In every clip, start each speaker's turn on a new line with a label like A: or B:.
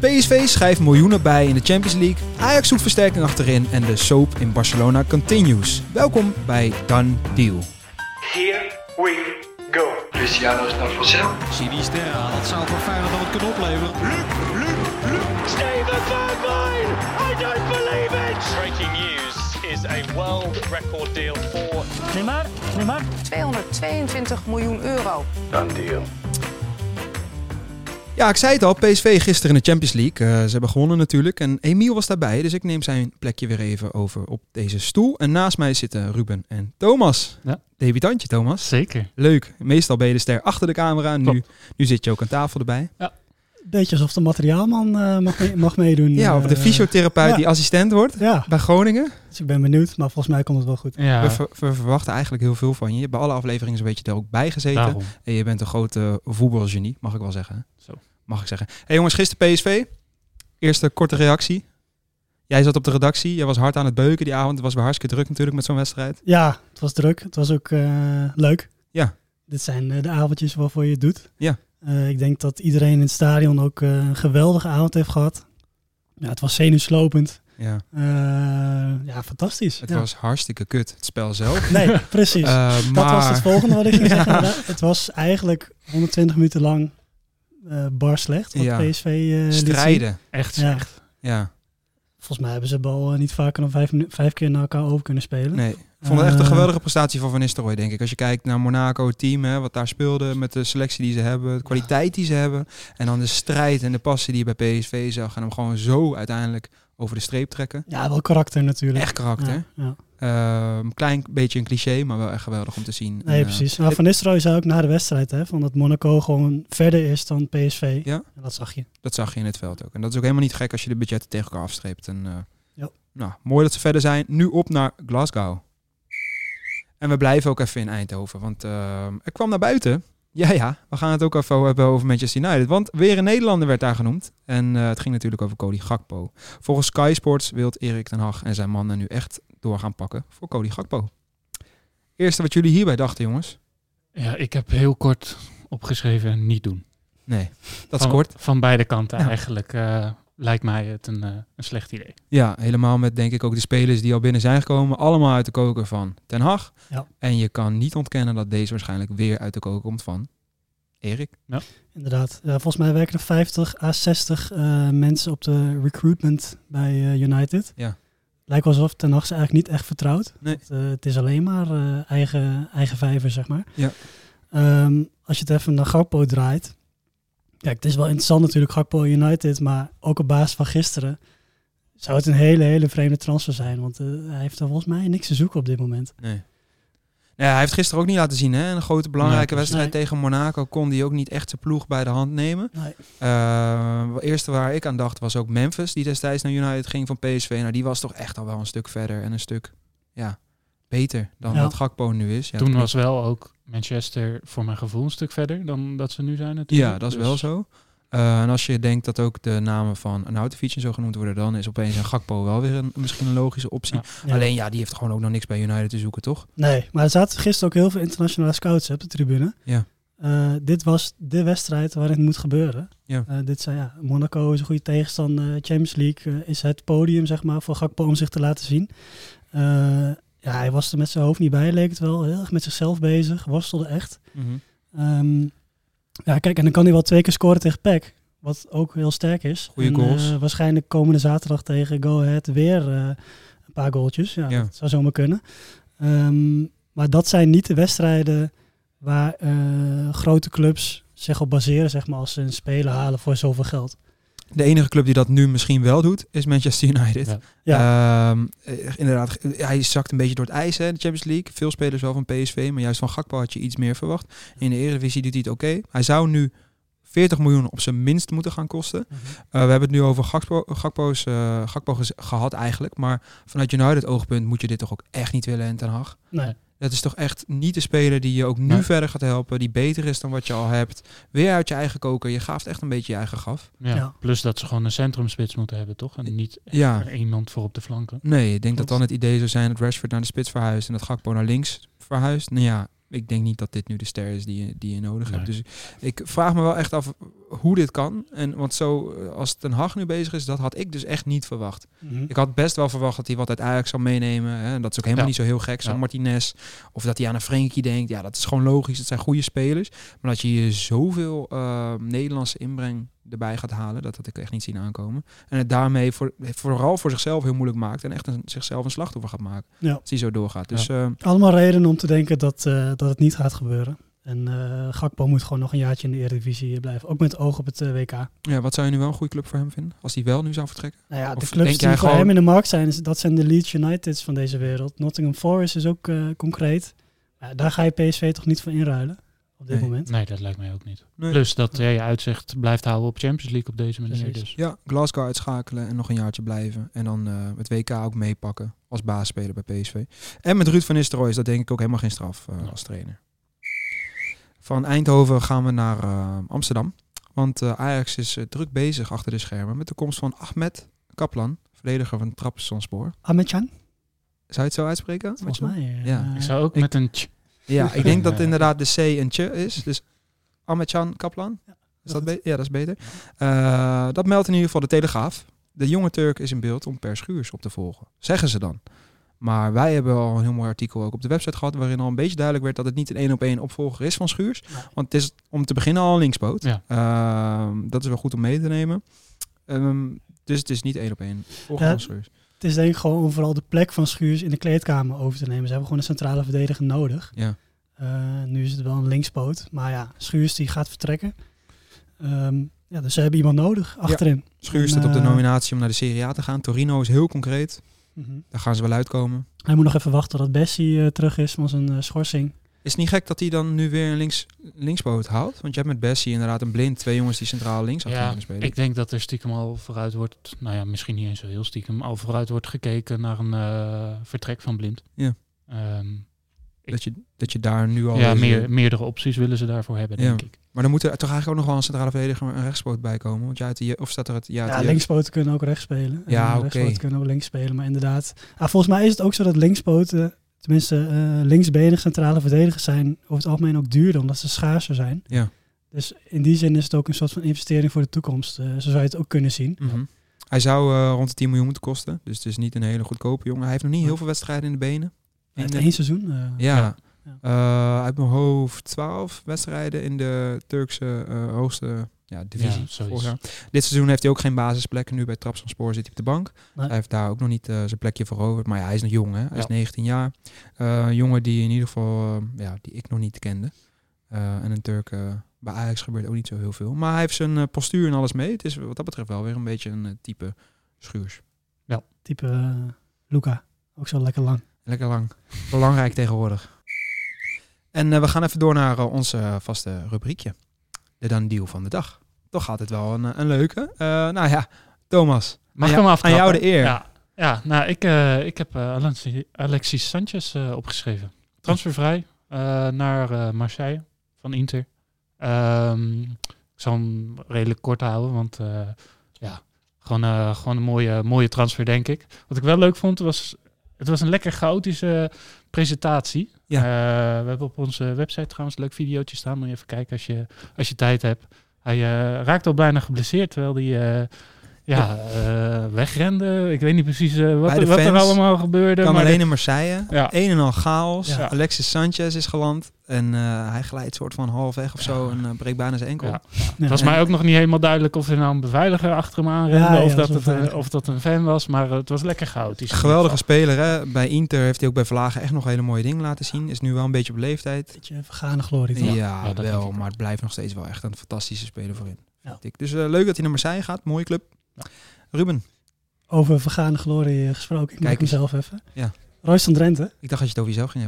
A: PSV schrijft miljoenen bij in de Champions League. Ajax zoekt versterking achterin en de soap in Barcelona continues. Welkom bij Done Deal.
B: Here we go. Luciano is naar Vassel.
C: Sinisterra, dat zou voor Feyenoord wat kunnen opleveren.
D: Steven Bergwijn! I don't believe it! Breaking news is a world record deal for
E: 222 miljoen euro.
A: Ja, ik zei het al, PSV gisteren in de Champions League. Eh, ze hebben gewonnen natuurlijk en Emiel was daarbij, dus ik neem zijn plekje weer even over op deze stoel. En naast mij zitten Ruben en Thomas.
F: Ja.
A: Debutantje Thomas.
F: Zeker.
A: Leuk. Meestal ben je de ster achter de camera. Nu, nu zit je ook aan tafel erbij.
G: beetje alsof de materiaalman eh, mag, mee- mag meedoen.
A: Ja, of de
G: Eh,
A: fysiotherapeut
G: ja.
A: die assistent wordt
G: Ja,
A: bij Groningen.
G: dus ik ben benieuwd, maar volgens mij komt het wel goed.
F: Ja,
A: We, ver- we verwachten eigenlijk heel veel van je. Je hebt bij alle afleveringen zo'n beetje er ook bij gezeten.
F: daarom.
A: En je bent een grote voetbalgenie, mag ik wel zeggen. hè?
F: Zo.
A: Mag ik zeggen. hey jongens, gisteren PSV. Eerste korte reactie. Jij zat op de redactie. Jij was hard aan het beuken die avond. Het was weer hartstikke druk natuurlijk met zo'n wedstrijd.
G: Ja, het was druk. Het was ook eh, leuk.
A: Ja.
G: Dit zijn eh, de avondjes waarvoor je het doet.
A: Ja.
G: Eh, ik denk dat iedereen in het stadion ook eh, een geweldige avond heeft gehad. Ja, het was zenuwslopend.
A: Ja,
G: Eh, ja, fantastisch.
A: het
G: Ja.
A: was hartstikke kut, het spel zelf.
G: Nee, precies.
A: Eh,
G: Dat was
A: maar-
G: het volgende wat ik ging
A: Ja.
G: zeggen. inderdaad. Het was eigenlijk 120 minuten lang eh, bar slecht. Wat
A: Ja.
G: PSV eh, liet zien.
A: Strijden.
F: Echt
G: Ja.
F: slecht.
A: Ja,
G: Volgens mij hebben ze de bal eh, niet vaker dan vijf, minu- vijf keer naar elkaar over kunnen spelen.
A: nee. Ik vond het echt een
G: Eh,
A: geweldige prestatie van Van Nistelrooy, denk ik. Als je kijkt naar Monaco, het team, hè, wat daar speelde, met de selectie die ze hebben, de kwaliteit die ze hebben. En dan de strijd en de passie die je bij PSV zag. En hem gewoon zo uiteindelijk over de streep trekken.
G: Ja, wel karakter natuurlijk.
A: Echt karakter.
G: Ja, ja.
A: Ehm, klein beetje een cliché, maar wel echt geweldig om te zien. En,
G: Nee,
A: eh,
G: precies. Maar Van Nistelrooy zei ook na de wedstrijd hè, van dat Monaco gewoon verder is dan PSV.
A: Ja.
G: En dat zag je.
A: dat zag je in het veld ook. En dat is ook helemaal niet gek als je de budgetten tegen elkaar afstreept. En, eh,
G: Ja.
A: nou, mooi dat ze verder zijn. Nu op naar Glasgow. En we blijven ook even in Eindhoven, want ehm ik kwam naar buiten. Ja, ja, we gaan het ook even hebben over Manchester United. Want weer een Nederlander werd daar genoemd. En eh, het ging natuurlijk over Cody Gakpo. Volgens Sky Sports wil Erik ten Hag en zijn mannen nu echt door gaan pakken voor Cody Gakpo. Eerste wat jullie hierbij dachten, jongens.
F: Ja, ik heb heel kort opgeschreven niet doen.
A: Nee, dat is
F: van,
A: kort.
F: Van beide kanten
A: Ja.
F: eigenlijk eh, lijkt mij het een, eh, een slecht idee.
A: Ja, helemaal met denk ik ook de spelers die al binnen zijn gekomen. Allemaal uit de koker van Ten Hag.
G: Ja.
A: En je kan niet ontkennen dat deze waarschijnlijk weer uit de koker komt van Erik.
G: Inderdaad. Ja, volgens mij werken er 50 à 60 eh, mensen op de recruitment bij eh, United.
A: Ja.
G: Lijkt wel alsof Ten Hag ze eigenlijk niet echt vertrouwt.
A: Nee.
G: Want, eh, het is alleen maar eh, eigen, eigen vijver, zeg maar.
A: Ja.
G: Ehm, als je het even naar Gakpo draait. Kijk, het is wel interessant natuurlijk, Gakpo United. Maar ook op basis van gisteren zou het een hele, hele vreemde transfer zijn. Want eh, hij heeft er volgens mij niks te zoeken op dit moment.
A: Nee. Nou ja, hij heeft gisteren ook niet laten zien. Hè? In Een grote belangrijke
F: Nee,
A: wedstrijd tegen Monaco kon hij ook niet echt zijn ploeg bij de hand nemen.
G: Nee.
A: Eh, het eerste waar ik aan dacht was ook Memphis, die destijds naar United ging van PSV. Nou, die was toch echt al wel een stuk verder en een stuk ja, beter dan
G: Ja.
A: wat Gakpo nu is. Ja,
F: Toen
A: dat-
F: was wel ook Manchester voor mijn gevoel een stuk verder dan dat ze nu zijn natuurlijk.
A: Ja, dat is
F: Dus
A: wel zo. Eh, en als je denkt dat ook de namen van een Nautovic en zo genoemd worden, dan is opeens een Gakpo wel weer een, misschien een logische optie.
G: Ja.
A: Alleen ja, die heeft gewoon ook nog niks bij United te zoeken, toch?
G: Nee, maar er zaten gisteren ook heel veel internationale scouts hè, op de tribune.
A: Ja.
G: Eh, dit was de wedstrijd waarin het moet gebeuren.
A: Ja.
G: Eh, dit zijn, ja, Monaco is een goede tegenstander. Champions League eh, is het podium zeg maar, voor Gakpo om zich te laten zien. Eh, ja, hij was er met zijn hoofd niet bij, leek het wel. Heel erg met zichzelf bezig, worstelde echt.
F: Mhm.
G: Ehm, ja, kijk, en dan kan hij wel twee keer scoren tegen PEC. Wat ook heel sterk is.
A: Goeie
G: En,
A: goals.
G: eh, waarschijnlijk komende zaterdag tegen Go Ahead weer eh, een paar goaltjes. Ja,
A: Ja.
G: Dat zou zomaar kunnen. Ehm, maar dat zijn niet de wedstrijden waar eh, grote clubs zich op baseren, zeg maar, als ze een speler halen voor zoveel geld.
A: De enige club die dat nu misschien wel doet, is Manchester United.
F: Ja.
A: Ehm, eh, inderdaad, eh, hij zakt een beetje door het ijs hè, in de Champions League. Veel spelers wel van PSV, maar juist van Gakpo had je iets meer verwacht. In de Eredivisie doet hij het oké. Hij zou nu 40 miljoen op zijn minst moeten gaan kosten.
G: Mhm.
A: Eh, we hebben het nu over Gakpo, Gakpo's, eh, Gakpo gez- gehad eigenlijk. Maar vanuit United oogpunt moet je dit toch ook echt niet willen in Ten Hag?
G: Nee.
A: Dat is toch echt niet de speler die je ook nu
F: Nee.
A: verder gaat helpen. Die beter is dan wat je al hebt. Weer uit je eigen koker. Je gaaft echt een beetje je eigen gaf.
F: Ja.
G: Ja.
F: Plus dat ze gewoon een centrumspits moeten hebben, toch? En niet echt
A: Ja.
F: er iemand voor op de flanken.
A: Nee, ik denk dat
F: Klopt.
A: dan het idee zou zijn dat Rashford naar de spits verhuist en dat Gakpo naar links verhuist. Nou ja, ik denk niet dat dit nu de ster is die je, die je nodig hebt.
F: Nee.
A: Dus ik vraag me wel echt af hoe dit kan. En, want zo, eh, als Ten Hag nu bezig is, dat had ik dus echt niet verwacht.
G: Mhm.
A: Ik had best wel verwacht dat hij wat uit Ajax zou meenemen. Hè. En dat is ook helemaal
F: Ja.
A: niet zo heel gek, zo'n
F: Ja.
A: Martinez. Of dat hij aan een Frenkie denkt. Ja, dat is gewoon logisch. Dat zijn goede spelers. Maar dat je hier zoveel eh, Nederlandse inbreng erbij gaat halen, dat had ik echt niet zien aankomen. En het daarmee voor, vooral voor zichzelf heel moeilijk maakt. En echt een, zichzelf een slachtoffer gaat maken.
G: Ja.
A: Als hij zo doorgaat. Dus eh,
G: Allemaal redenen om te denken dat, eh, dat het niet gaat gebeuren. En eh Gakpo moet gewoon nog een jaartje in de Eredivisie blijven. Ook met oog op het eh, WK.
A: ja, wat zou je nu wel een goede club voor hem vinden? Als hij wel nu zou vertrekken?
G: Nou ja,
A: Of
G: de
A: denk
G: clubs die
A: jij
G: voor
A: gewoon-
G: hem in de markt zijn, is- dat zijn de Leeds Uniteds van deze wereld. Nottingham Forest is ook eh, concreet. Ja, daar ga je PSV toch niet voor inruilen op dit
A: Nee.
G: moment.
F: Nee, dat lijkt mij ook niet.
A: Nee.
F: Plus dat jij je uitzicht blijft houden op Champions League op deze manier.
G: Precies.
F: Dus.
A: Ja, Glasgow uitschakelen en nog een jaartje blijven. En dan eh, het WK ook meepakken als baasspeler bij PSV. En met Ruud van Nistelrooy is dat denk ik ook helemaal geen straf eh,
F: Ja.
A: als trainer. Van Eindhoven gaan we naar eh, Amsterdam. Want eh, Ajax is eh, druk bezig achter de schermen met de komst van Ahmed Kaplan, verdediger van Trabzonspor.
G: Ahmedjan,
A: Zou je het zo uitspreken?
G: volgens mij. eh,
A: Ja.
G: eh,
F: Ik zou ook
A: Ik-
F: met een tj-
A: Ja, ik denk dat
F: Ja.
A: inderdaad de C een tje is. Dus Ametjan Kaplan. Is dat
G: dat
A: be- ja, dat is beter. Eh, dat meldt in ieder geval de Telegraaf. De jonge Turk is in beeld om Per Schuurs op te volgen. Zeggen ze dan. Maar wij hebben al een heel mooi artikel ook op de website gehad... waarin al een beetje duidelijk werd dat het niet een één op één opvolger is van Schuurs.
G: Nee.
A: Want het is om te beginnen al een linkspoot.
F: Ja.
A: Ehm, dat is wel goed om mee te nemen. Ehm, dus het is niet één op één opvolger
G: Ja.
A: van Schuurs.
G: Het is denk ik gewoon om vooral de plek van Schuurs in de kleedkamer over te nemen. Ze hebben gewoon een centrale verdediger nodig.
A: Ja.
G: Eh, nu is het wel een linkspoot. Maar ja, Schuurs die gaat vertrekken. Ehm, ja, dus ze hebben iemand nodig achterin.
A: Schuurs
G: En,
A: staat op de
G: eh,
A: nominatie om naar de Serie A te gaan. Torino is heel concreet.
G: Mhm.
A: Daar gaan ze wel uitkomen.
G: Hij moet nog even wachten tot Bessie eh, terug is van zijn eh, schorsing.
A: Is het niet gek dat hij dan nu weer een links, linksboot houdt? Want je hebt met Bessie inderdaad een blind. Twee jongens die centraal links achter
F: Ja,
A: kunnen spelen.
F: ik denk dat er stiekem al vooruit wordt, nou ja, misschien niet eens zo heel stiekem, al vooruit wordt gekeken naar een eh, vertrek van Blind.
A: Ja.
F: Ehm,
A: dat, je, dat je daar nu al...
F: ja,
A: eens- eh,
F: meer, meerdere opties willen ze daarvoor hebben,
A: Ja.
F: denk ik.
A: Maar dan moet er toch eigenlijk ook nog wel een centrale verdediger en een rechtsboot bij komen. Want jij uit de je- of staat er het... Ja,
G: Ja,
A: uit de je-
G: linkspoten kunnen ook rechts spelen.
A: Ja,
G: En
A: oké.
G: Rechtspoten kunnen ook links spelen. Maar inderdaad, ah, volgens mij is het ook zo dat linkspoten, tenminste eh linksbenig centrale verdedigers zijn, over het algemeen ook duurder, omdat ze schaarser zijn.
A: Ja.
G: Dus in die zin is het ook een soort van investering voor de toekomst. Eh, zo zou je het ook kunnen zien.
A: Mhm. Hij zou eh, rond de 10 miljoen moeten kosten. Dus het is niet een hele goedkope jongen. Hij heeft nog niet heel veel wedstrijden in de benen. In
G: Het
A: de-
G: één seizoen. eh,
A: ja.
G: Ja.
A: Eh, uit mijn hoofd 12 wedstrijden in de Turkse eh, hoogste ja, divisie.
F: Ja, zoiets.
A: vorig jaar. Dit seizoen heeft hij ook geen basisplek. Nu bij Trabzonspor zit hij op de bank.
G: Nee.
A: Hij heeft daar ook nog niet eh, zijn plekje veroverd. Maar ja, hij is nog jong, hè? Hij is
F: Ja.
A: 19 jaar. Eh, een jongen die in ieder geval, eh, ja, die ik nog niet kende. Eh, en een Turk, eh, bij Ajax gebeurt ook niet zo heel veel. Maar hij heeft zijn eh, postuur en alles mee. Het is wat dat betreft wel weer een beetje een eh, type schuurs.
G: Type eh, Luca. Ook zo lekker lang.
A: Lekker lang. Belangrijk tegenwoordig. En eh, we gaan even door naar eh, onze eh, vaste rubriekje. De dan deal van de dag. Toch altijd wel een, eh, een leuke. Eh, nou ja, Thomas. aan
F: Mag ik hem
A: jou-
F: aftrappen?
A: Aan jou de eer.
F: Ja, ja nou, ik, eh, ik heb eh, Alexi- Alexis Sanchez eh, opgeschreven. Transfervrij eh, naar eh, Marseille van Inter. Ehm, ik zal hem redelijk kort houden, want eh, ja, gewoon, eh, gewoon een mooie, mooie transfer, denk ik. Wat ik wel leuk vond, was het was een lekker chaotische presentatie.
A: Ja.
F: Eh, we hebben op onze website trouwens een leuk videootje staan. Moet je even kijken als je, als je tijd hebt. Hij eh, raakte al bijna geblesseerd, terwijl hij eh, ja, eh, wegrende. Ik weet niet precies eh,
A: Bij
F: wat,
A: de
F: er- wat er
A: fans
F: allemaal gebeurde.
A: kwam
F: maar
A: alleen in Marseille.
F: Ja.
A: Een en al chaos.
F: Ja.
A: Alexis Sanchez is geland. En eh, hij glijdt soort van half weg of zo. En eh, breekt bijna zijn enkel.
F: Ja.
G: Ja.
F: het was mij ook nog niet helemaal duidelijk of er nou een beveiliger achter hem aanrende.
G: Ja, ja,
F: of,
G: dat
F: dat
G: was
F: het, een-
G: wel fijn.
F: of dat een fan was, maar eh, het was lekker chaotisch. in
A: Geweldige
F: ieder
A: speler. Hè? Bij Inter heeft hij ook bij Vlagen echt nog hele mooie dingen laten zien. Is nu wel een beetje op leeftijd.
G: Beetje vergane glorie. toch?
A: Ja,
F: Ja, dat denk
A: wel.
F: ik ook.
A: Maar het blijft nog steeds wel echt een fantastische speler voorin.
G: Ja.
A: vind ik. Dus eh, leuk dat hij naar Marseille gaat. Mooie club. Ruben,
G: Over vergane glorie eh, gesproken. Ik
A: Kijk
G: maak hem
A: eens.
G: zelf even.
A: Ja.
G: Royce van Drenthe.
A: ik dacht dat je het over jezelf ging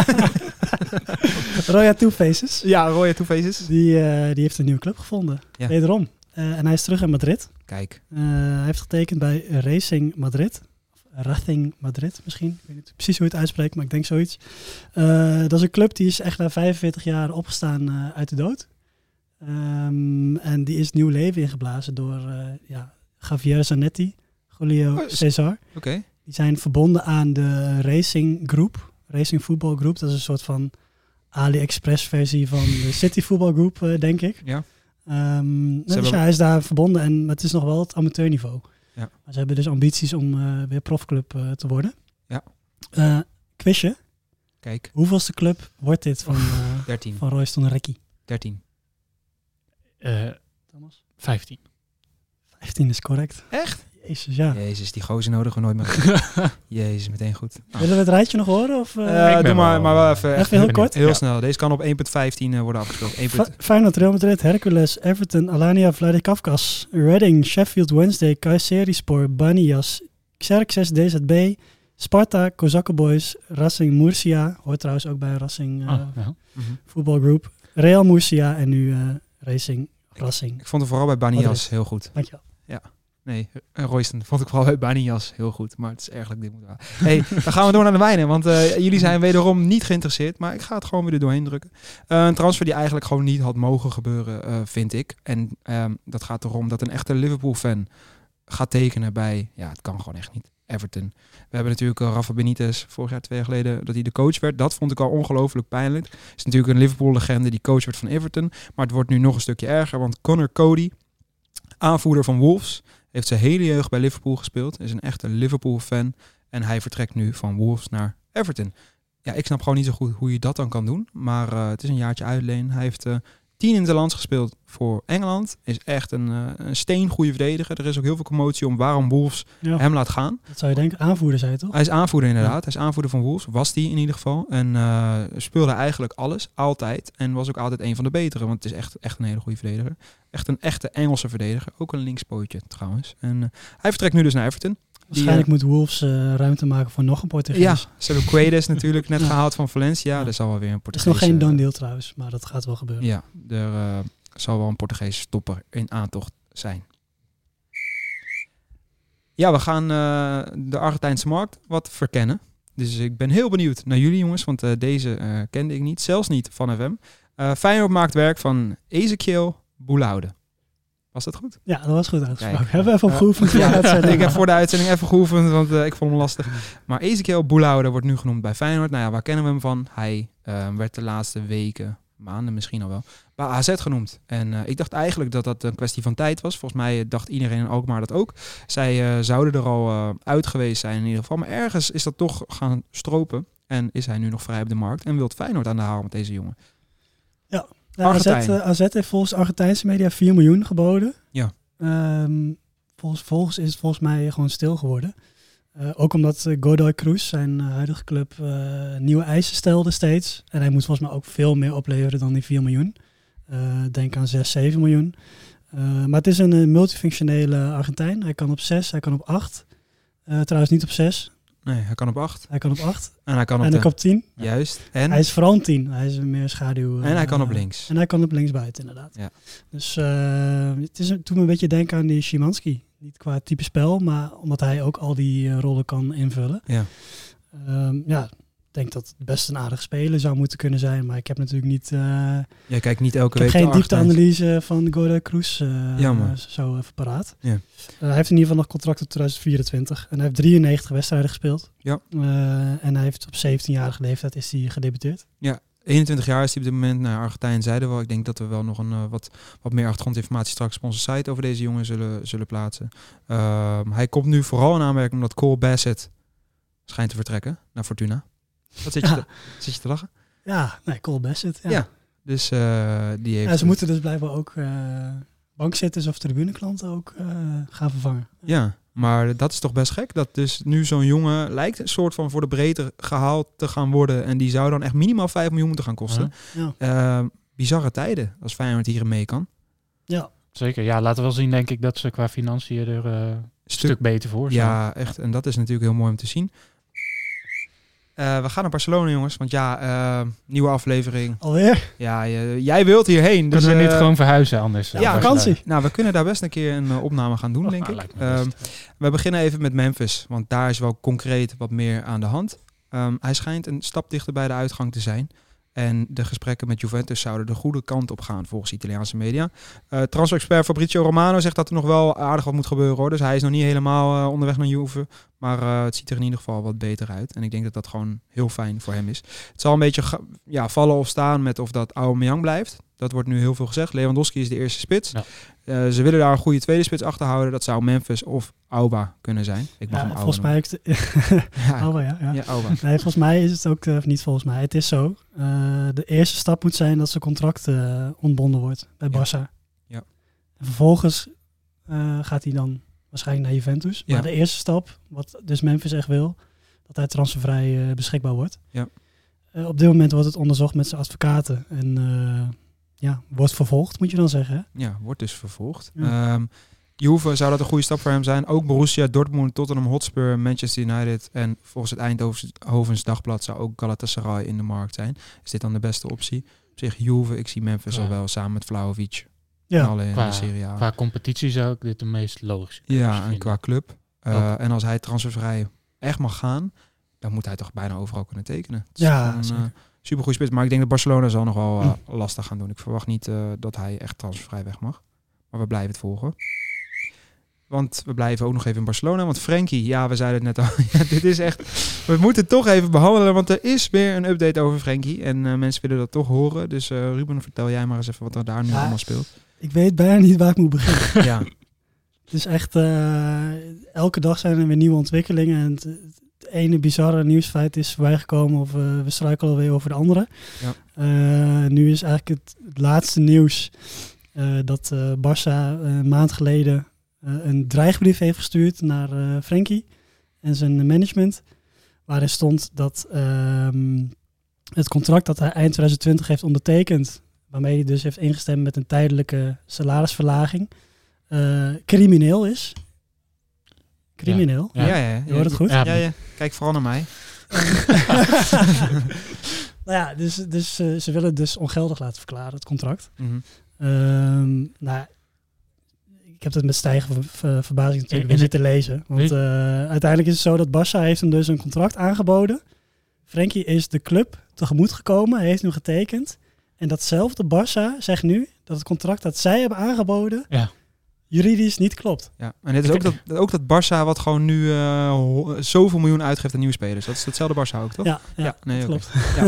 A: hebben.
G: Roya Two Faces.
A: ja, Roya Two Faces.
G: Die, eh, die heeft een nieuwe club gevonden.
A: Ja.
G: Wederom. Eh, en hij is terug in Madrid.
A: Kijk,
G: Eh, hij heeft getekend bij Racing Madrid. Of Racing Madrid misschien. Ik weet niet precies hoe je het uitspreekt, maar ik denk zoiets. Eh, dat is een club die is echt na 45 jaar opgestaan eh, uit de dood. Ehm, en die is nieuw leven ingeblazen door eh, ja, Javier Zanetti, Julio
A: Oh, is-
G: Cesar.
A: oké.
G: Die zijn verbonden aan de Racing Groep, Racing Football Group. Dat is een soort van AliExpress versie van de City Football Group, eh, denk ik.
A: Ja.
G: Ehm, dus
A: hebben-
G: ja, hij is daar verbonden en maar het is nog wel het amateurniveau.
A: Ja.
G: Maar ze hebben dus ambities om eh, weer profclub eh, te worden.
A: Ja.
G: Eh, quizje,
A: Kijk,
G: hoeveelste club wordt dit van, eh
A: 13.
G: van Royston Rekkie?
A: 13.
F: Eh,
G: Thomas?
F: 15.
G: 15 is correct.
A: Echt?
G: Jezus, ja.
A: Jezus, die gozer nodigen we nooit meer. Jezus, meteen goed. Nou,
G: Willen we het rijtje nog horen? Of, eh,
A: eh,
F: ik ben
A: doe maar,
F: wel-
A: maar wel even.
G: Even heel kort?
A: Heel
F: Ja.
A: snel. Deze kan op 1.15 eh, worden afgespeeld. 1.
G: Fi- Feyenoord, Real Madrid, Hercules, Everton, Alania, Vladikavkaz, Reading, Sheffield Wednesday, Kayserispor, Banias, Xerxes, DZB, Sparta, Kozakken Boys, Racing Murcia, hoort trouwens ook bij Racing eh,
F: Ah, ja.
G: voetbalgroep, Real Murcia en nu eh, Racing Racing.
A: Ik vond het vooral bij Banias
G: Madrid.
A: heel goed.
G: Dankjewel.
A: Nee, eh, Royston vond ik vooral bij Banias heel goed. Maar het is ergelijk dit moet wel. Hey, dan gaan we door naar de wijnen. Want eh, jullie zijn wederom niet geïnteresseerd. Maar ik ga het gewoon weer er doorheen drukken. Eh, een transfer die eigenlijk gewoon niet had mogen gebeuren, eh, vind ik. En ehm, dat gaat erom dat een echte Liverpool-fan gaat tekenen bij... Ja, het kan gewoon echt niet. Everton. We hebben natuurlijk eh, Rafa Benitez vorig jaar, twee jaar geleden, dat hij de coach werd. Dat vond ik al ongelooflijk pijnlijk. Is natuurlijk een Liverpool-legende die coach werd van Everton. Maar het wordt nu nog een stukje erger, want Connor Cody, aanvoerder van Wolves, heeft zijn hele jeugd bij Liverpool gespeeld. Is een echte Liverpool-fan. En hij vertrekt nu van Wolves naar Everton. Ja, ik snap gewoon niet zo goed hoe je dat dan kan doen. Maar eh, het is een jaartje uitleen. Hij heeft eh tien in het land gespeeld voor Engeland. Is echt een, eh, een steengoede verdediger. Er is ook heel veel commotie om waarom Wolves
G: Ja.
A: hem laat gaan.
G: Dat zou je denken, aanvoerder zei je toch?
A: Hij is aanvoerder inderdaad. Hij is aanvoerder van Wolves. Was die in ieder geval. En eh, speelde eigenlijk alles. Altijd. En was ook altijd een van de betere. Want het is echt, echt een hele goede verdediger. Echt een echte Engelse verdediger. Ook een linkspootje trouwens. En eh, hij vertrekt nu dus naar Everton.
G: Waarschijnlijk moet Wolves eh, ruimte maken voor nog een Portugees.
A: Ja, ze hebben Quedes natuurlijk net
G: Ja.
A: gehaald van Valencia.
G: Ja.
A: Er zal wel weer een
G: Het is
A: Portugees...
G: nog
A: eh,
G: geen done deal trouwens, maar dat gaat wel gebeuren.
A: Ja, er eh, zal wel een Portugees stopper in aantocht zijn. Ja, we gaan eh, de Argentijnse markt wat verkennen. Dus ik ben heel benieuwd naar jullie jongens, want eh, deze eh, kende ik niet. Zelfs niet van FM. Eh Feyenoord maakt werk van Ezekiel Boulaude. Was dat goed?
G: Ja, dat was goed uitgesproken.
A: Kijk.
G: Hebben we even op
A: Eh,
G: geoefend voor de uitzending.
A: ik heb voor de uitzending even geoefend, want eh, ik vond hem lastig. Maar Ezekiel Boulaude wordt nu genoemd bij Feyenoord. Nou ja, waar kennen we hem van? Hij eh, werd de laatste weken, maanden misschien al wel, bij AZ genoemd. En eh, ik dacht eigenlijk dat dat een kwestie van tijd was. Volgens mij eh, dacht iedereen in Alkmaar dat ook. Zij eh, zouden er al eh, uit geweest zijn in ieder geval. Maar ergens is dat toch gaan stropen. En is hij nu nog vrij op de markt. En wilt Feyenoord aan de haal met deze jongen.
G: Ja, AZ,
A: Argentijn.
G: eh, AZ heeft volgens Argentijnse media 4 miljoen geboden.
A: Ja.
G: Ehm, volgens, volgens is het volgens mij gewoon stil geworden. Eh, ook omdat eh, Godoy Cruz, zijn eh, huidige club, eh, nieuwe eisen stelde steeds. En hij moet volgens mij ook veel meer opleveren dan die 4 miljoen. Eh, denk aan 6, 7 miljoen. Eh, maar het is een eh, multifunctionele Argentijn. Hij kan op 6, hij kan op 8. Eh, trouwens niet op 6,
A: Nee, hij kan op acht.
G: hij kan op 8.
A: En hij kan op
G: En
A: de...
G: ook op 10.
A: Juist. En,
G: Hij is vooral een 10. Hij is meer schaduw. eh,
A: en hij kan op links.
G: en hij kan op linksbuiten, inderdaad.
A: Ja.
G: Dus eh, het is, toen een beetje denken aan die Szymanski. Niet qua type spel, maar omdat hij ook al die eh, rollen kan invullen.
A: Ja.
G: Ehm, ja, ik denk dat het best een aardig speler zou moeten kunnen zijn. Maar ik heb natuurlijk niet, eh,
A: Jij kijkt niet elke
G: ik heb
A: week
G: geen
A: de Argentijnse-
G: diepteanalyse van Godoy Cruz eh,
A: Jammer.
G: zo even paraat.
A: Ja.
G: Eh, hij heeft in ieder geval nog contract tot 2024. En hij heeft 93 wedstrijden gespeeld.
A: Ja.
G: Eh, en hij heeft op 17-jarige leeftijd is hij gedebuteerd.
A: 21 jaar is hij op dit moment naar Argentijn zeiden we. al. Ik denk dat we wel nog een eh, wat, wat meer achtergrondinformatie straks op onze site over deze jongen zullen, zullen plaatsen. Ehm, hij komt nu vooral in aanmerking omdat Cole Bassett schijnt te vertrekken naar Fortuna. Wat zit je,
G: Ja.
A: te, zit je te lachen?
G: Ja, nee, Cole Bassett.
A: Ja. Dus eh, die heeft.
G: Ja, ze moeten dus blijkbaar ook eh, bankzitters of tribuneklanten ook eh, gaan vervangen.
A: Ja, maar dat is toch best gek. Dat dus nu zo'n jongen lijkt een soort van voor de breedte gehaald te gaan worden. En die zou dan echt minimaal 5 miljoen moeten gaan kosten.
G: Ja.
A: Ehm, bizarre tijden als Feyenoord hierin mee kan.
G: Ja,
F: Zeker. Ja, laten we wel zien, denk ik, dat ze qua financiën er eh, een stuk beter voor staan.
A: Ja, echt. En dat is natuurlijk heel mooi om te zien. Eh, we gaan naar Barcelona, jongens. Want ja, eh, nieuwe aflevering.
G: alweer.
A: Ja, je- jij wilt hierheen. Dus,
F: Kunnen we niet
A: eh,
F: gewoon verhuizen anders?
A: ja,
F: Barcelona?
G: vakantie.
A: Nou, we kunnen daar best een keer een eh, opname gaan doen,
F: Oh,
A: denk
F: nou,
A: ik.
F: lijkt me best.
A: Ehm, we beginnen even met Memphis. Want daar is wel concreet wat meer aan de hand. Ehm, hij schijnt een stap dichter bij de uitgang te zijn. En de gesprekken met Juventus zouden de goede kant op gaan, volgens Italiaanse media. Eh transfer-expert Fabrizio Romano zegt dat er nog wel aardig wat moet gebeuren. Hoor. Dus hij is nog niet helemaal eh, onderweg naar Juve. Maar eh, het ziet er in ieder geval wat beter uit. En ik denk dat dat gewoon heel fijn voor hem is. Het zal een beetje ga- ja, vallen of staan met of dat Aubameyang blijft. Dat wordt nu heel veel gezegd. Lewandowski is de eerste spits.
F: Ja.
A: Eh, ze willen daar een goede tweede spits achter houden. Dat zou Memphis of Auba kunnen zijn. Ik mag
G: Ja,
A: hem
G: volgens
A: Auba
G: mij... ook de-
A: noemen. Ja,
G: Oh, ja, ja.
A: ja, Auba.
G: Nee, volgens mij is het ook, eh, of niet volgens mij, het is zo. Eh, de eerste stap moet zijn dat zijn contract eh, ontbonden wordt bij
A: Ja.
G: Barça.
A: Ja.
G: En vervolgens eh, gaat hij dan waarschijnlijk naar Juventus.
A: Ja.
G: Maar de eerste stap, wat dus Memphis echt wil, dat hij transfervrij eh, beschikbaar wordt.
A: Ja.
G: Eh, op dit moment wordt het onderzocht met zijn advocaten en eh, ja, wordt vervolgd, moet je dan zeggen. hè?
A: Ja, wordt dus vervolgd.
G: Ja.
A: Ehm Juve zou dat een goede stap voor hem zijn. Ook Borussia, Dortmund, Tottenham Hotspur, Manchester United. En volgens het Eindhovens Dagblad zou ook Galatasaray in de markt zijn. Is dit dan de beste optie? Op zich Juve, ik zie Memphis
F: Ja.
A: al wel samen met Vlaovic.
G: Ja.
A: En alle in
F: Qua-
A: de Serie A.
F: Qua competitie zou ik dit de meest logische keuze
A: Ja, en
F: vinden.
A: qua club. Eh, en als hij transfervrij echt mag gaan, dan moet hij toch bijna overal kunnen tekenen. Het is
G: Ja,
A: gewoon,
G: zeker. Mm.
A: eh, supergoeie spits. Maar ik denk dat Barcelona zal nog wel eh, lastig gaan doen. Ik verwacht niet eh, dat hij echt transfervrij weg mag. Maar we blijven het volgen. Want we blijven ook nog even in Barcelona. Want Frenkie, ja, we zeiden het net al. Ja, dit is echt... We moeten het toch even behandelen, want er is weer een update over Frenkie. En eh, mensen willen dat toch horen. Dus eh, Ruben, vertel jij maar eens even wat er daar nu
G: Ja.
A: allemaal speelt.
G: Ik weet bijna niet waar ik moet beginnen.
A: Ja,
G: Het is echt, eh, elke dag zijn er weer nieuwe ontwikkelingen. En het, het ene bizarre nieuwsfeit is voorbijgekomen of eh, we struikelen alweer over de andere.
A: Ja.
G: Eh, nu is eigenlijk het, het laatste nieuws eh, dat eh Barça eh, een maand geleden eh, een dreigbrief heeft gestuurd naar eh Frenkie en zijn management. Waarin stond dat ehm, het contract dat hij eind 2020 heeft ondertekend, waarmee hij dus heeft ingestemd met een tijdelijke salarisverlaging, eh, crimineel is. Crimineel.
A: ja,
F: Ja.
A: ja. ja.
G: Je hoort het goed?
F: Ja,
A: Ja, ja. Kijk vooral naar mij.
G: Nou ja, dus, dus eh, ze willen het dus ongeldig laten verklaren, het contract.
A: Mhm.
G: Ehm, nou, ik heb het met stijgende ver- ver- verbazing natuurlijk weer
F: En- en
G: zitten lezen. Want
F: Weet-
G: eh, uiteindelijk is het zo dat Barça heeft hem dus een contract aangeboden. Frenkie is de club tegemoet gekomen, heeft hem getekend. En datzelfde Barça zegt nu dat het contract dat zij hebben aangeboden
F: Ja.
G: juridisch niet klopt.
A: Ja, en dit is ook dat, ook dat Barça wat gewoon nu eh, ho- zoveel miljoen uitgeeft aan nieuwe spelers. Dat is datzelfde Barça ook, toch?
G: Ja, ja,
A: nee,
G: dat
A: oké.
G: klopt.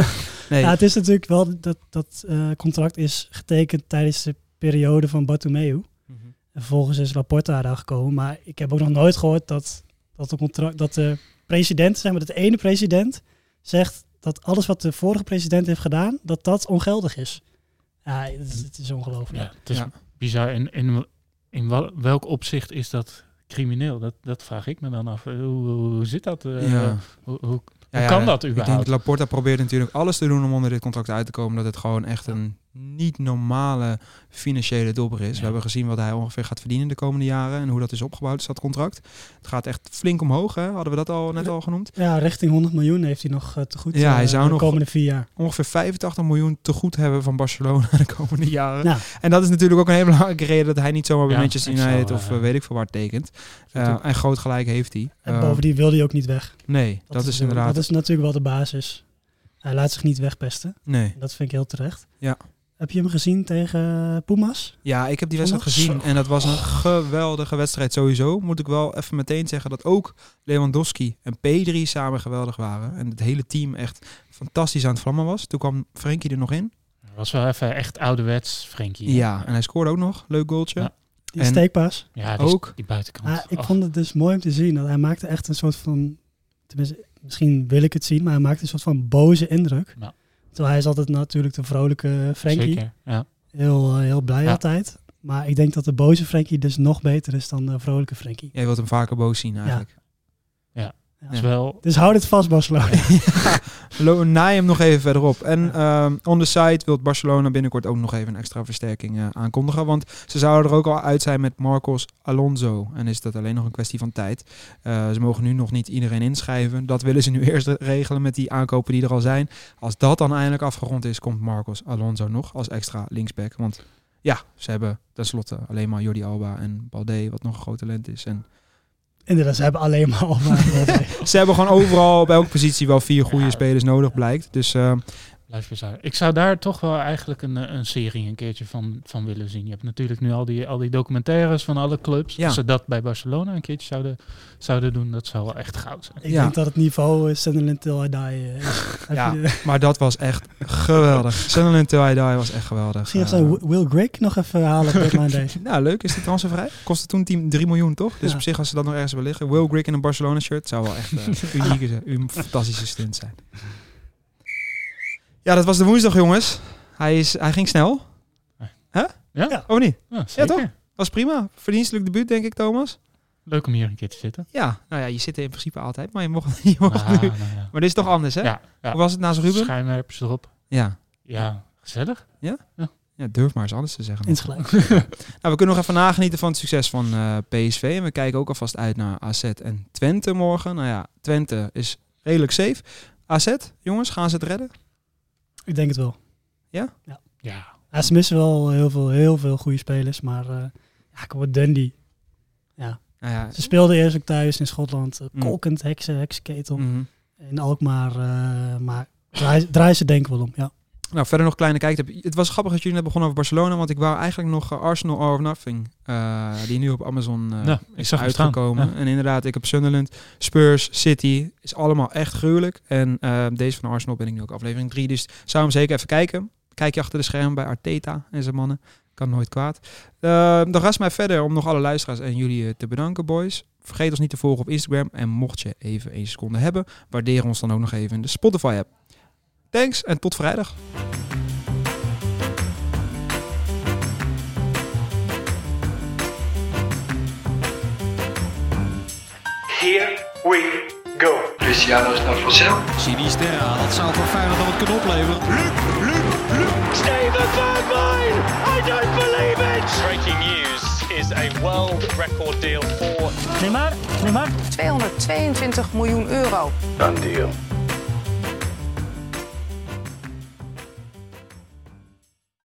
A: Nee,
G: Ja, het is natuurlijk wel dat dat eh, contract is getekend tijdens de periode van Bartomeu.
A: Mhm.
G: En vervolgens is Laporta daar gekomen. Maar ik heb ook nog nooit gehoord dat, dat, de, contract, dat de president, zeg maar, dat de ene president zegt dat alles wat de vorige president heeft gedaan, dat dat ongeldig is. Ja, het is, het is ongelooflijk.
F: Ja, het is
A: Ja.
F: bizar. En in, in wel- welk opzicht is dat crimineel? Dat, dat vraag ik me dan af. Eh, Hoe, hoe- hoe zit dat?
A: ja.
F: eh, Hoe, hoe,
A: Ja, ja,
F: kan dat
A: Ik denk
F: überhaupt?
A: dat Laporta probeert natuurlijk alles te doen om onder dit contract uit te komen. Dat het gewoon echt een niet normale financiële dobber is.
F: Ja.
A: We hebben gezien wat hij ongeveer gaat verdienen de komende jaren. En hoe dat is opgebouwd, is dat contract. Het gaat echt flink omhoog, hè? Hadden we dat al net al genoemd?
G: Ja, richting 100 miljoen heeft hij nog eh, te goed
A: Ja, hij
G: eh,
A: zou
G: de
A: nog-
G: komende vier jaar.
A: Ongeveer 85 miljoen te goed hebben van Barcelona de komende jaren.
G: Nou,
A: En dat is natuurlijk ook een hele belangrijke reden dat hij niet zomaar bij
F: Ja,
A: Manchester
F: ik zou,
A: United of
F: eh,
A: eh, weet ik veel waar tekent. Eh, en groot gelijk heeft hij.
G: en
A: Eh,
G: bovendien wil hij ook niet weg.
A: nee, dat, is
G: natuurlijk-
A: inderdaad.
G: Dat is natuurlijk wel de basis. Hij laat zich niet wegpesten.
A: Nee.
G: En Dat vind ik heel terecht.
A: Ja.
G: Heb je hem gezien tegen eh, Pumas?
A: Ja, ik heb die wedstrijd
G: Zondag?
A: gezien en dat was een geweldige wedstrijd sowieso. Moet ik wel even meteen zeggen dat ook Lewandowski en P3 samen geweldig waren. En het hele team echt fantastisch aan het vlammen was. Toen kwam Frenkie er nog in.
F: Dat was wel even echt ouderwets, Frenkie.
A: Ja, en hij scoorde ook nog. Leuk goaltje.
F: Ja.
G: Die
A: En-
G: steekpaas.
F: Ja, die,
A: Ook.
F: die buitenkant.
G: Ah, ik
F: Och,
G: vond het dus mooi om te zien. Dat hij maakte echt een soort van... Tenminste, misschien wil ik het zien, maar hij maakte een soort van boze indruk.
F: Ja.
G: Terwijl hij is altijd natuurlijk de vrolijke Frenkie.
F: Zeker, ja.
G: Heel, eh, heel blij
F: Ja.
G: altijd. Maar ik denk dat de boze Frenkie dus nog beter is dan de vrolijke Frenkie.
A: Jij wilt hem vaker boos zien eigenlijk.
F: Het is wel...
G: Dus houd het vast, Barcelona.
A: Lo- Naai hem nog even verderop. En ehm on the side wil Barcelona binnenkort ook nog even een extra versterking eh, aankondigen. Want ze zouden er ook al uit zijn met Marcos Alonso. En is dat alleen nog een kwestie van tijd. Eh, ze mogen nu nog niet iedereen inschrijven. Dat willen ze nu eerst regelen met die aankopen die er al zijn. Als dat dan eindelijk afgerond is, komt Marcos Alonso nog als extra linksback. Want ja, ze hebben tenslotte alleen maar Jordi Alba en Balde, wat nog een groot talent is. En
G: Inderdaad, ze hebben alleen maar Alba. en Valverde.
A: ze hebben gewoon overal op elke positie wel vier goede spelers nodig, blijkt. Dus eh,
F: Blijf bizar. Ik zou daar toch wel eigenlijk een, eh, een serie een keertje van, van willen zien. Je hebt natuurlijk nu al die, al die documentaires van alle clubs.
A: Ja.
F: Als ze dat bij Barcelona een keertje zouden, zouden doen, dat zou wel echt goud zijn.
G: Ik
A: Ja.
G: denk dat het niveau eh, Sunderland Till I Die eh, is.
A: Ja.
G: Heb je de-
A: Maar dat was echt geweldig. Sunderland Till I Die was echt geweldig.
G: Misschien
A: Eh,
G: gaan ze Will Greg nog even halen op deadline day.
A: Nou, leuk. Is die transfervrij? Kostte toen team 3 miljoen, toch? Dus
G: Ja.
A: op zich, als ze dat nog ergens willen liggen. Will Grigg in een Barcelona-shirt zou wel echt eh, unieke, zijn. een fantastische stunt zijn. Ja, dat was de woensdag, jongens. Hij, is, hij ging snel. Hè?
F: Ja.
A: Of niet?
F: Ja, zeker.
A: toch? Was prima. Verdienstelijk debuut, denk ik, Thomas.
F: Leuk om hier een keer te zitten.
A: Ja, nou ja, je zit er in principe altijd, maar je mocht, je mocht
F: Nou,
A: nu.
F: nou ja.
A: Maar dit is toch anders, hè?
F: Ja, ja.
A: Ah. Hoe was het naast Ruben?
F: Schijnwerpers erop.
A: Ja.
F: Ja, gezellig.
A: ja, durf maar eens anders te zeggen. man.
G: Insgelijk.
A: Nou, we kunnen nog even nagenieten van het succes van eh, PSV. En we kijken ook alvast uit naar AZ en Twente morgen. Nou ja, Twente is redelijk safe. AZ, jongens, gaan ze het redden?
G: Ik denk het wel.
F: Ja,
G: Ja, ze missen wel heel veel, heel veel goede spelers, maar eh ja, ik hoor Dundee.
A: Nou ja,
G: Ze speelden eerst ook thuis in Schotland. eh,
A: Mm.
G: Kolkend, heksen, heksenketel.
A: mhm.
G: In Alkmaar, eh, maar draai, draai ze denk ik wel om, ja.
A: nou, verder nog kleine kijktip. Het was grappig dat jullie net begonnen over Barcelona. Want ik wou eigenlijk nog eh, Arsenal All or Nothing. eh, die nu op Amazon eh,
F: Ja, ik
A: is
F: zag hem staan.
A: uitgekomen.
F: Ja.
A: En inderdaad, ik heb Sunderland, Spurs, City. Is allemaal echt gruwelijk. En eh, deze van Arsenal ben ik nu ook aflevering 3. Dus zou hem zeker even kijken. Kijk je achter de schermen bij Arteta en zijn mannen. Kan nooit kwaad. Eh, dan rest mij verder om nog alle luisteraars en jullie eh, te bedanken, boys. Vergeet ons niet te volgen op Instagram. En mocht je even één seconde hebben, waardeer ons dan ook nog even in de Spotify-app. Thanks en tot vrijdag.
B: Here we go. Luciano Snafrocel.
C: Sinisterra, dat zou voor Feyenoord dan wat kunnen opleveren.
D: David Bergwijn, I don't believe it! Breaking news is a world record deal for
E: 222 miljoen euro.
B: Done deal.